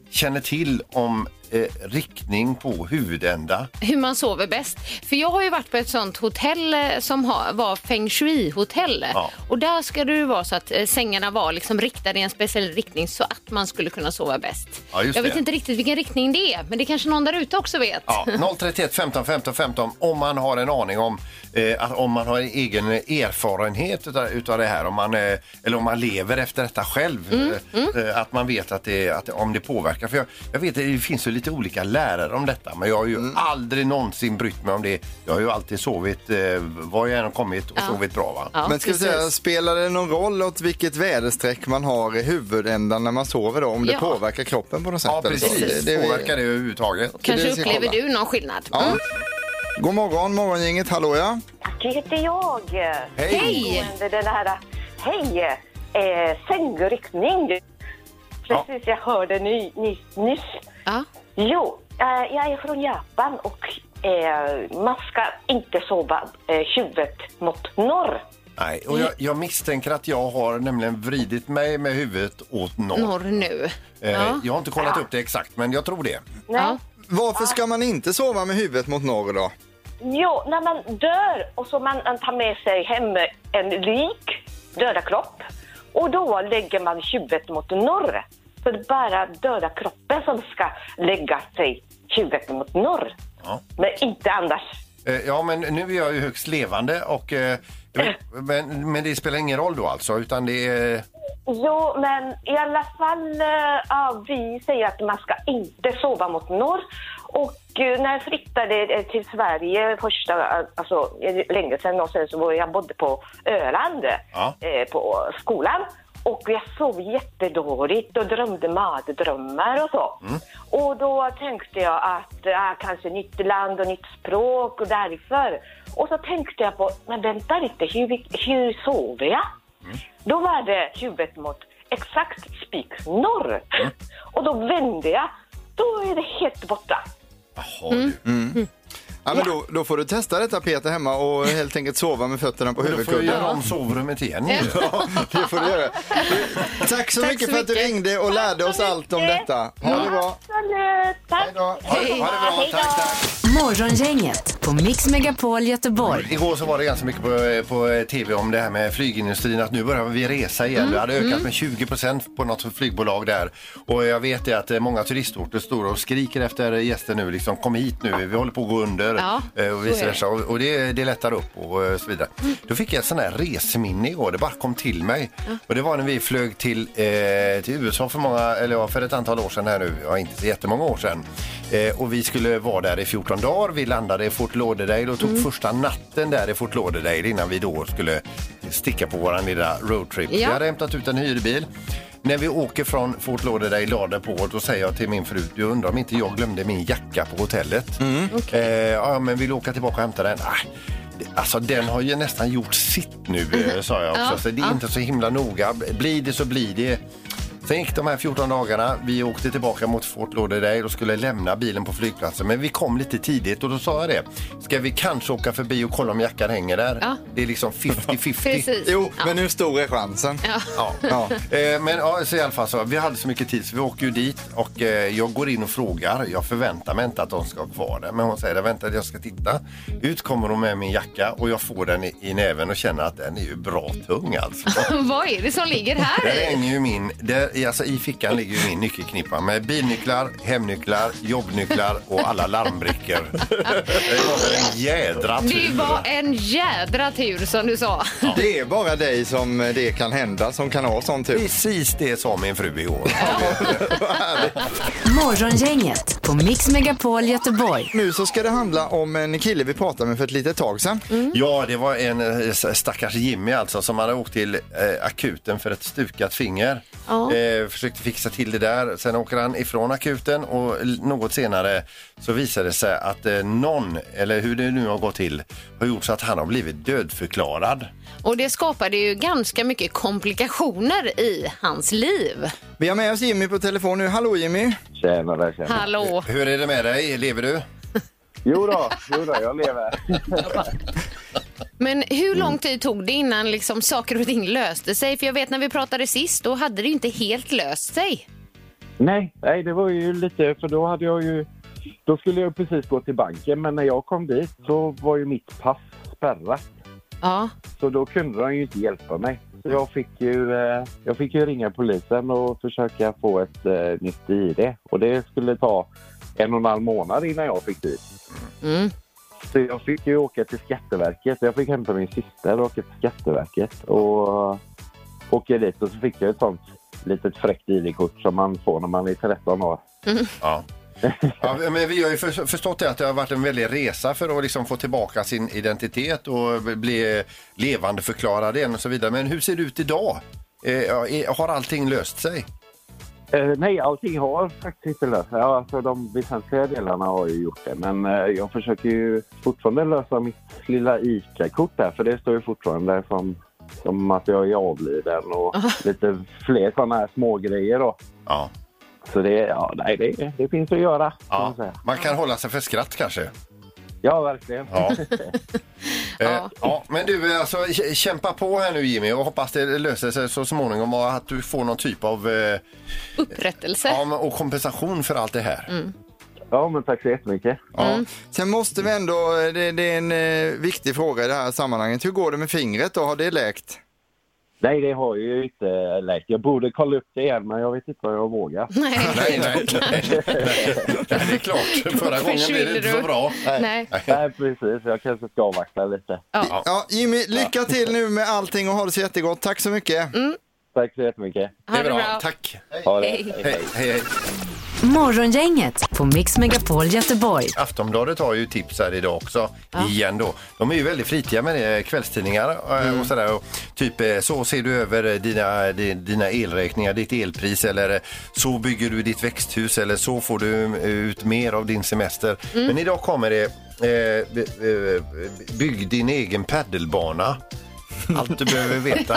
[SPEAKER 5] känner till om eh, riktning på huvudända.
[SPEAKER 4] hur man sover bäst. För jag har ju varit på ett sånt hotell eh, som ha, var feng shui-hotell.
[SPEAKER 5] Ja.
[SPEAKER 4] Och där ska det ju vara så att eh, sängarna var liksom riktade i en speciell riktning så att man skulle kunna sova bäst.
[SPEAKER 5] Ja, just
[SPEAKER 4] jag
[SPEAKER 5] det.
[SPEAKER 4] vet inte riktigt vilken riktning det är, men det kanske någon där ute också vet.
[SPEAKER 5] Ja, 031 15 15 15 om man har en aning om eh, att om man har en egen erfarenhet utav, utav det här om man, eh, eller om man lever efter detta själv.
[SPEAKER 4] Mm,
[SPEAKER 5] eh, Eh, att man vet att det, att, om det påverkar. För jag, jag vet det finns ju lite olika lärare om detta men jag har ju
[SPEAKER 3] Mm.
[SPEAKER 5] aldrig någonsin brytt mig om det. Jag har ju alltid sovit eh, var jag än har kommit och sovit bra. Va?
[SPEAKER 4] Ja,
[SPEAKER 3] Men ska vi
[SPEAKER 4] precis.
[SPEAKER 3] säga, spelar det någon roll åt vilket väderstreck man har i huvudändan när man sover då? Om det
[SPEAKER 4] Ja.
[SPEAKER 3] påverkar kroppen på något sätt?
[SPEAKER 5] Ja,
[SPEAKER 3] eller så?
[SPEAKER 5] precis.
[SPEAKER 3] Det, det,
[SPEAKER 5] Påverkar det överhuvudtaget?
[SPEAKER 4] Kanske
[SPEAKER 3] det ska
[SPEAKER 4] upplever
[SPEAKER 3] kolla.
[SPEAKER 4] du någon skillnad? Mm.
[SPEAKER 3] Ja. God morgon, morgongänget. Hallå ja.
[SPEAKER 1] Tack heter jag.
[SPEAKER 5] Hej!
[SPEAKER 4] Hej!
[SPEAKER 1] Det är Den här, hej, eh, sängryckning. Precis, jag hörde ny, ny, nyss.
[SPEAKER 4] Ja.
[SPEAKER 1] Jo, eh, jag är från Japan och eh, man ska inte sova eh, huvudet mot norr.
[SPEAKER 5] Nej, och jag, jag misstänker att jag har nämligen vridit mig med huvudet åt norr.
[SPEAKER 4] Norr nu.
[SPEAKER 5] Eh,
[SPEAKER 4] Ja.
[SPEAKER 5] Jag har inte kollat upp det exakt men jag tror det.
[SPEAKER 1] Nej.
[SPEAKER 4] Ja.
[SPEAKER 3] Varför ska man inte sova med huvudet mot norr då?
[SPEAKER 1] Jo, när man dör och så man tar med sig hem en lik, döda kropp och då lägger man huvudet mot norr. Så det är bara döda kroppen som ska lägga sig huvudet mot norr.
[SPEAKER 5] Ja.
[SPEAKER 1] Men inte annars.
[SPEAKER 5] Eh, Ja, men nu är jag ju högst levande och... eh, Men, men det spelar ingen roll då alltså, utan det är...
[SPEAKER 1] Jo, men i alla fall, eh, ja, vi säger att man ska inte sova mot norr och ju när jag flyttade eh, till Sverige första, eh, alltså eh, länge sedan och sen så var jag bodde på Öland
[SPEAKER 9] Ja.
[SPEAKER 1] eh, på skolan. Och jag sov jättedåligt och drömde mardrömmar och så. Och då tänkte jag att ah, kanske nytt land och nytt språk och därför. Och så tänkte jag på, men vänta lite, hur, hur sover jag? Då var det huvudet mot exakt spik norr. Och då vände jag, då är det helt borta.
[SPEAKER 3] Mm. Ja, men då, då får du testa detta Peter hemma och helt enkelt sova med fötterna på
[SPEAKER 5] Men då får
[SPEAKER 3] huvudkudden.
[SPEAKER 5] jag göra om sovrummet igen.
[SPEAKER 3] ja, det får du göra. Tack så
[SPEAKER 9] Tack
[SPEAKER 3] mycket
[SPEAKER 9] så
[SPEAKER 3] för att du ringde och lärde oss allt om detta.
[SPEAKER 4] Mm.
[SPEAKER 3] Ha det bra.
[SPEAKER 1] Absolut, tack!
[SPEAKER 5] Ha det bra,
[SPEAKER 1] Hej då.
[SPEAKER 2] Morgongänget på Mix Megapol Göteborg.
[SPEAKER 5] Igår så var det ganska mycket på, på tv om det här med flygindustrin att nu börjar vi resa igen.
[SPEAKER 2] Mm,
[SPEAKER 5] Det hade ökat
[SPEAKER 2] mm.
[SPEAKER 5] med 20 procent på något flygbolag där. Och jag vet det att eh, många turistorter står och skriker efter gäster nu. Liksom, kom hit nu, vi håller på att gå under.
[SPEAKER 9] Ja,
[SPEAKER 5] eh, och
[SPEAKER 9] så
[SPEAKER 5] vice
[SPEAKER 9] är det.
[SPEAKER 5] versa. Och, och det, det lättar upp och eh, så vidare. Då fick jag ett sån här resminne igår. Det bara kom till mig. Och det var när vi flög till, eh, till USA för, många, eller, ja, för ett antal år sedan här nu. Ja, inte så jättemånga år sedan. Eh, och vi skulle vara där i 14 dagar. Vi landade i Fort Lauderdale och tog första natten där i Fort Lauderdale innan vi då skulle sticka på våran lilla roadtrip.
[SPEAKER 9] Ja.
[SPEAKER 5] Vi hade hämtat ut en hyrbil. När vi åker från Fort Lauderdale dagen på, då säger jag till min fru, du undrar om inte jag glömde min jacka på hotellet. Eh, ja, men vill du åka tillbaka och hämta den? Ah, det- alltså den har ju nästan gjort sitt nu, eh, sa jag också.
[SPEAKER 9] Ja,
[SPEAKER 5] så det är
[SPEAKER 9] ja.
[SPEAKER 5] inte så himla noga. Blir det så blir det. Sen gick de här 14 dagarna. Vi åkte tillbaka mot Fort Lauderdale och skulle lämna bilen på flygplatsen. Men vi kom lite tidigt och då sa jag det. Ska vi kanske åka förbi och kolla om jackan hänger där?
[SPEAKER 4] Ja.
[SPEAKER 5] Det är liksom 50-50.
[SPEAKER 4] Precis. Jo, Ja. men
[SPEAKER 5] hur stor är chansen?
[SPEAKER 4] Ja.
[SPEAKER 5] Ja. Eh, Men ja, så i alla fall så, vi hade så mycket tid så vi åker ju dit och eh, jag går in och frågar. Jag förväntar mig inte att de ska ha kvar den. Men hon säger, vänta jag ska titta. Ut kommer hon med min jacka och jag får den i, i näven och känner att den är ju bra tung alltså.
[SPEAKER 4] Vad är det som ligger här
[SPEAKER 5] Där
[SPEAKER 4] i?
[SPEAKER 5] hänger ju min, där, i- alltså i fickan ligger ju min nyckelknippa med bilnycklar, hemnycklar, jobbnycklar och alla larmbrickor. Det var en jädra tur.
[SPEAKER 4] Det var en jädra tur som du sa.
[SPEAKER 3] Det är bara dig som det kan hända som kan ha sån tur.
[SPEAKER 5] Precis det sa min fru igår.
[SPEAKER 2] Morgongänget på Mix Megapol Göteborg.
[SPEAKER 3] Nu så ska det handla om en kille vi pratade med för ett litet tag sedan.
[SPEAKER 4] Mm.
[SPEAKER 5] Ja, det var en eh, stackars Jimmy alltså som hade åkt till eh, akuten för ett stukat finger.
[SPEAKER 9] Ja.
[SPEAKER 5] Eh, försökte fixa till det där. Sen åker han ifrån akuten och l- något senare så visade det sig att eh, någon, eller hur det nu har gått till, har gjort så att han har blivit dödförklarad.
[SPEAKER 4] Och det skapade ju ganska mycket komplikationer i hans liv.
[SPEAKER 3] Vi har med oss Jimmy på telefon nu. Hallå Jimmy!
[SPEAKER 13] Tjenare, tjenare.
[SPEAKER 4] Hallå!
[SPEAKER 5] Hur är det med dig? Lever du?
[SPEAKER 13] Jo då, jo då jag lever.
[SPEAKER 4] Men hur
[SPEAKER 5] Mm.
[SPEAKER 4] lång tid tog det innan liksom saker och ting löste sig? För jag vet när vi pratade sist, då hade det ju inte helt löst sig.
[SPEAKER 13] Nej, nej, det var ju lite, för då hade jag ju, då skulle jag precis gå till banken, men när jag kom dit så var ju mitt pass spärrat.
[SPEAKER 4] Ja.
[SPEAKER 13] Så då kunde de ju inte hjälpa mig. Så jag fick ju, eh, jag fick ju ringa polisen och försöka få ett eh, nytt ID. Och det skulle ta en och en halv månad innan jag fick dit. Så jag fick ju åka till Skatteverket. Jag fick hämta min syster och åka till Skatteverket. Och åka dit och så fick jag ett sånt litet fräckt ID-kort som man får när man är 13 år.
[SPEAKER 5] Ja. Ja, men vi har ju för- förstått det att det har varit en väldig resa för att liksom få tillbaka sin identitet och bli levande förklarad igen och så vidare. Men hur ser det ut idag? Eh, ja, är- Har allting löst sig?
[SPEAKER 13] Eh, nej, allting har faktiskt inte löst sig. Ja, alltså, de väsentliga delarna har ju gjort det. Men eh, jag försöker ju fortfarande lösa mitt lilla ICA-kort där. För det står ju fortfarande som, som att jag är avliden och lite fler sådana här smågrejer då.
[SPEAKER 5] Ja.
[SPEAKER 13] Så det, ja, nej, det, det finns att göra. kan man säga.
[SPEAKER 5] Man kan hålla sig för skratt kanske.
[SPEAKER 13] Ja, verkligen.
[SPEAKER 5] Ja. Eh, ja, men du, eh, alltså, kä- kämpa på här nu Jimmy och hoppas det löser sig så småningom och att du får någon typ av eh,
[SPEAKER 4] Upprättelse.
[SPEAKER 5] ja, men- och kompensation för allt det här.
[SPEAKER 13] Ja, men tack så jättemycket.
[SPEAKER 3] Ja.
[SPEAKER 4] Mm.
[SPEAKER 3] Sen måste vi ändå, det, det är en eh, viktig fråga i det här sammanhanget. Hur går det med fingret då? Har det läkt?
[SPEAKER 13] Nej, det har ju inte läkt. Jag borde kolla upp det igen, men jag vet inte vad jag vågar.
[SPEAKER 5] Nej, nej, nej, nej, det är klart. Förra gången blev det inte så bra.
[SPEAKER 13] Nej. nej, precis. Jag kanske ska avvakta lite.
[SPEAKER 4] Ja.
[SPEAKER 3] Ja, Jimmy, lycka till nu med allting och ha det så jättegott. Tack
[SPEAKER 4] Mm.
[SPEAKER 3] så mycket.
[SPEAKER 13] Tack så jättemycket.
[SPEAKER 5] Det är bra. Tack.
[SPEAKER 3] Ha det.
[SPEAKER 5] Hej, hej. hej.
[SPEAKER 2] Morgongänget på Mix Megapol Göteborg.
[SPEAKER 5] Aftonbladet har ju tips här idag också.
[SPEAKER 2] Ja.
[SPEAKER 5] Igen då. De är ju väldigt flitiga med det, kvällstidningar eh, och sådär. Och typ eh, så ser du över eh, dina, di- dina elräkningar, ditt elpris eller eh, så bygger du ditt växthus eller så får du eh, ut mer av din semester.
[SPEAKER 14] Mm.
[SPEAKER 5] Men idag kommer det eh, b- eh, bygg din egen paddelbana. Allt du behöver veta.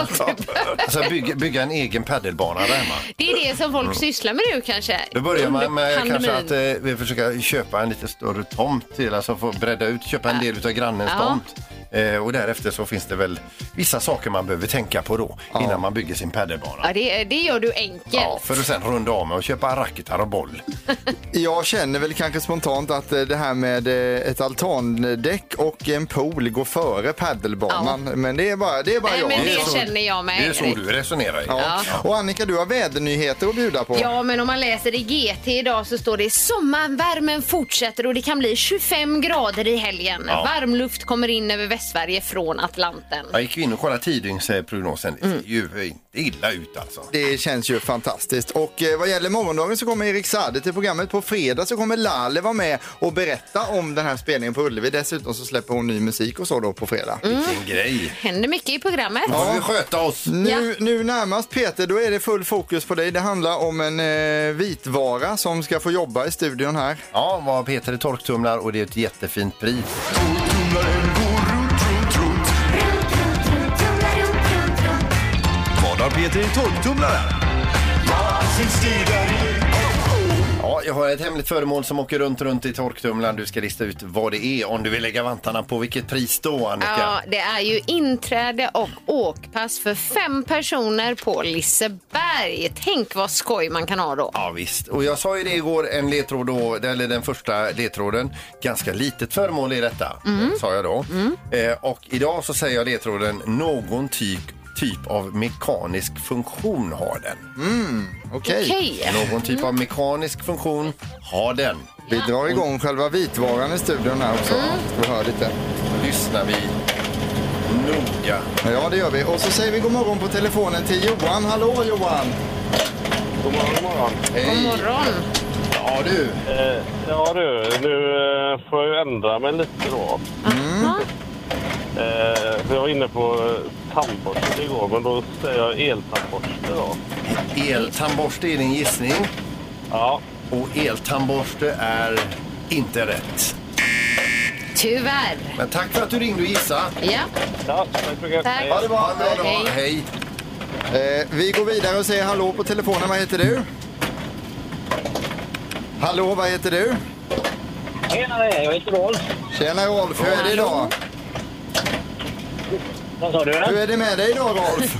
[SPEAKER 5] alltså bygga, bygga en egen paddelbana där hemma.
[SPEAKER 4] Det är det som folk
[SPEAKER 5] Mm.
[SPEAKER 4] sysslar med nu kanske.
[SPEAKER 5] Då börjar man
[SPEAKER 4] Under
[SPEAKER 5] med
[SPEAKER 4] pandemin.
[SPEAKER 5] kanske att eh, vi försöker köpa en lite större tomt till, alltså få bredda ut, köpa en del av grannens
[SPEAKER 4] Ja.
[SPEAKER 5] tomt. Eh, och därefter så finns det väl vissa saker man behöver tänka på då innan man bygger sin padelbana.
[SPEAKER 4] Ja, det, det gör du enkelt.
[SPEAKER 5] Ja, för att sen runda av med att köpa racketar och boll.
[SPEAKER 3] Jag känner väl kanske spontant att eh, det här med eh, ett altandäck och en pool går före padelbanan. Men det är bara, det är bara
[SPEAKER 4] Nej,
[SPEAKER 3] jag.
[SPEAKER 4] men det känner jag med.
[SPEAKER 5] resonerar.
[SPEAKER 3] Ja. Och Annika, du har vädernyheter att bjuda på.
[SPEAKER 4] Ja, men om man läser i GT idag så står det sommarvärmen fortsätter och det kan bli 25 grader i helgen.
[SPEAKER 5] Ja.
[SPEAKER 4] Varm luft kommer in över Västsverige från Atlanten.
[SPEAKER 5] Jag gick in och kollade tidygnsprognosen. Det
[SPEAKER 4] Mm.
[SPEAKER 5] ser ju inte illa ut alltså.
[SPEAKER 3] Det känns ju fantastiskt. Och eh, vad gäller morgondagen så kommer Erik Saade till programmet. På fredag så kommer Lale vara med och berätta om den här spelningen på Ullevi. Dessutom så släpper hon ny musik och så då på fredag.
[SPEAKER 5] Vilken grej!
[SPEAKER 4] Händer mycket i programmet.
[SPEAKER 5] sköta oss.
[SPEAKER 3] Nu, nu närmast Peter, då är det full fokus på dig. Det handlar om en eh, vitvara som ska få jobba i studion här.
[SPEAKER 5] Ja, vad Peter är torktumlar och det är ett jättefint pris. Vad har Peter i torktumlaren? Ja, jag har ett hemligt föremål som åker runt, runt i torktumlaren. Du ska lista ut vad det är om du vill lägga vantarna på vilket pris då, Annika.
[SPEAKER 4] Ja, det är ju inträde och åkpass för fem personer på Liseberg. Tänk vad skoj man kan ha då.
[SPEAKER 5] Ja, visst. Och jag sa ju det igår, en ledtråd då, eller den första ledtråden. Ganska litet föremål i detta,
[SPEAKER 4] Mm.
[SPEAKER 5] sa jag då. Eh, och idag så säger jag ledtråden, någon typ, typ av mekanisk funktion har den.
[SPEAKER 3] Mm, okej.
[SPEAKER 5] Okej. Någon typ av mekanisk funktion har den.
[SPEAKER 3] Vi drar igång själva vitvaran i studion här också. Vi hör lite.
[SPEAKER 5] Lyssnar vi noga.
[SPEAKER 3] Ja, det gör vi. Och så säger vi god morgon på telefonen till Johan. Hallå Johan!
[SPEAKER 8] God morgon, god morgon.
[SPEAKER 5] God
[SPEAKER 4] morgon.
[SPEAKER 5] Ja du.
[SPEAKER 8] Eh, ja du, nu eh, får jag ju ändra mig lite då.
[SPEAKER 3] Mm.
[SPEAKER 8] Eh, för jag var inne på eh, tandborste igår, men då säger jag eltandborste då.
[SPEAKER 5] Eltandborste är din gissning.
[SPEAKER 8] Ja.
[SPEAKER 5] Och eltandborste är inte rätt.
[SPEAKER 4] Tyvärr.
[SPEAKER 5] Men tack för att du ringde och gissade.
[SPEAKER 4] Ja.
[SPEAKER 8] Ja, tack så mycket.
[SPEAKER 4] Tack.
[SPEAKER 3] Ha det bra.
[SPEAKER 4] Ha det bra. Hej.
[SPEAKER 5] Hej.
[SPEAKER 3] Eh, vi går vidare och säger hallå på telefonen. Vad heter du? Hallå, vad heter du?
[SPEAKER 15] Tjenare, jag heter Rolf.
[SPEAKER 3] Tjena Rolf, hur är det idag?
[SPEAKER 15] Vad sa du?
[SPEAKER 3] Hur är det med dig idag Rolf?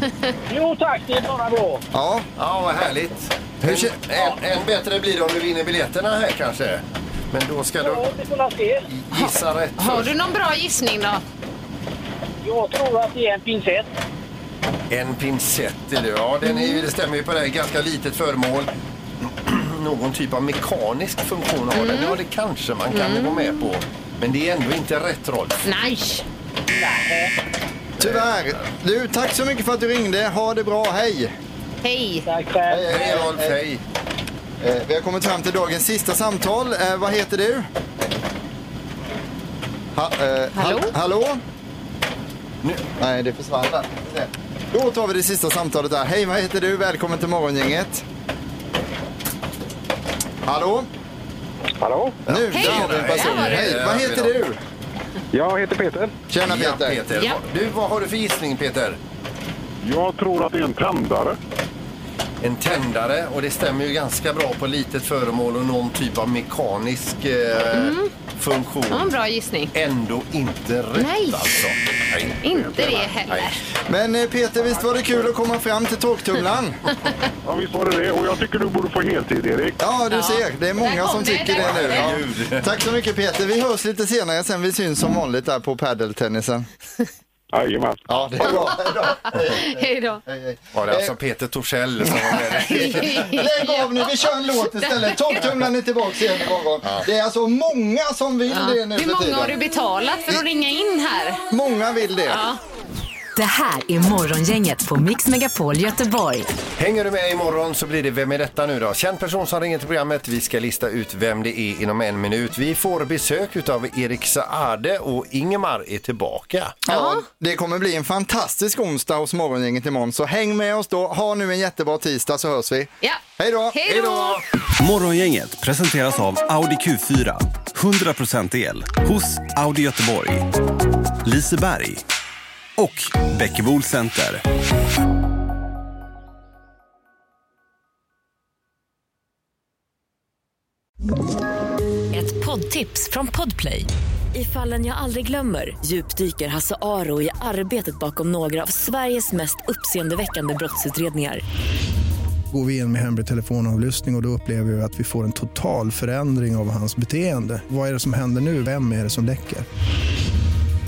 [SPEAKER 15] Jo tack, det är bara bra.
[SPEAKER 3] Ja.
[SPEAKER 5] Ja, vad härligt. En, en bättre blir det om du vinner biljetterna här kanske. Men då ska du
[SPEAKER 15] Vi får la se.
[SPEAKER 5] gissa rätt
[SPEAKER 4] Har du någon bra gissning då?
[SPEAKER 15] Jag tror att det är en pincett.
[SPEAKER 5] En pincett är det. Ja, den är, ju- det stämmer ju på det. Ganska litet föremål. Någon typ av mekanisk funktion har den. Ja, det kanske man kan
[SPEAKER 4] Mm.
[SPEAKER 5] gå med på. Men det är ändå inte rätt, Rolf.
[SPEAKER 4] Nej.
[SPEAKER 3] Tyvärr. Du, tack så mycket för att du ringde. Ha det bra, hej!
[SPEAKER 4] Hej.
[SPEAKER 15] Tack själv.
[SPEAKER 5] Hej Rolf, hej!
[SPEAKER 3] Eh, vi har kommit fram till dagens sista samtal. Eh, vad heter du? Ha, eh, hallå? hallå? Nej, det försvann där. Ska se. Då tar vi det sista samtalet där. Hej, vad heter du? Välkommen till Morgongänget. Hallå?
[SPEAKER 12] Hallå?
[SPEAKER 3] Nu, där har vi en person. Hej, vad heter du?
[SPEAKER 12] Jag heter Peter.
[SPEAKER 3] Tjena
[SPEAKER 5] Ja,
[SPEAKER 3] Peter.
[SPEAKER 5] Peter.
[SPEAKER 12] Ja.
[SPEAKER 5] Du, vad har du för gissning Peter?
[SPEAKER 12] Jag tror att det är en tändare.
[SPEAKER 5] En tändare och det stämmer ju ganska bra på litet föremål och någon typ av mekanisk eh, funktion.
[SPEAKER 4] Mm. Ja, en bra gissning.
[SPEAKER 5] Ändå inte rätt
[SPEAKER 4] Nej.
[SPEAKER 5] alltså. Nej.
[SPEAKER 4] Inte det heller.
[SPEAKER 3] Men eh, Peter, visst var det kul att komma fram till torktumlaren?
[SPEAKER 12] Ja, visst var det det. Och jag tycker du borde få heltid, Erik.
[SPEAKER 3] Ja, du ser. Det
[SPEAKER 12] Där
[SPEAKER 3] är många
[SPEAKER 12] kom
[SPEAKER 3] som
[SPEAKER 12] det,
[SPEAKER 3] tycker
[SPEAKER 12] där
[SPEAKER 3] det
[SPEAKER 12] kom
[SPEAKER 3] nu.
[SPEAKER 12] det.
[SPEAKER 3] Ja. Tack så mycket Peter. Vi hörs lite senare sen. Vi syns som vanligt där på padeltennisen.
[SPEAKER 12] Jajamän.
[SPEAKER 3] Ja, det är bra.
[SPEAKER 4] Hej då.
[SPEAKER 5] Var det
[SPEAKER 4] Eh.
[SPEAKER 5] alltså Peter Torssell som var med?
[SPEAKER 3] Eh, Lägg av nu, vi kör en låt istället. Torktumlaren är tillbaka igen imorgon. Det är alltså många som vill
[SPEAKER 4] Ja.
[SPEAKER 3] det nu
[SPEAKER 4] Hur
[SPEAKER 3] för
[SPEAKER 4] många
[SPEAKER 3] tiden.
[SPEAKER 4] har du betalat för att ringa in här?
[SPEAKER 3] Många vill det.
[SPEAKER 4] Ja.
[SPEAKER 16] Det här är Morgongänget på Mix Megapol Göteborg.
[SPEAKER 5] Hänger du med imorgon så blir det Vem är detta nu då? Känd person som ringer till programmet. Vi ska lista ut vem det är inom en minut. Vi får besök av Erik Saade och Ingemar är tillbaka.
[SPEAKER 3] Ja, det kommer bli en fantastisk onsdag hos Morgongänget imorgon. Så häng med oss då. Ha nu en jättebra tisdag så hörs vi.
[SPEAKER 4] Ja.
[SPEAKER 3] Hej då!
[SPEAKER 4] Hej då!
[SPEAKER 7] Morgongänget presenteras av Audi Q4. 100% el hos Audi Göteborg, Liseberg och Bäckebol Center.
[SPEAKER 2] Ett poddtips från Podplay. I fallen jag aldrig glömmer djupdyker Hasse Aro i arbetet bakom några av Sveriges mest uppseendeväckande brottsutredningar.
[SPEAKER 17] Går vi in med hemlig telefonavlyssning och, och då upplever vi att vi får en total förändring av hans beteende. Vad är det som händer nu? Vem är det som läcker?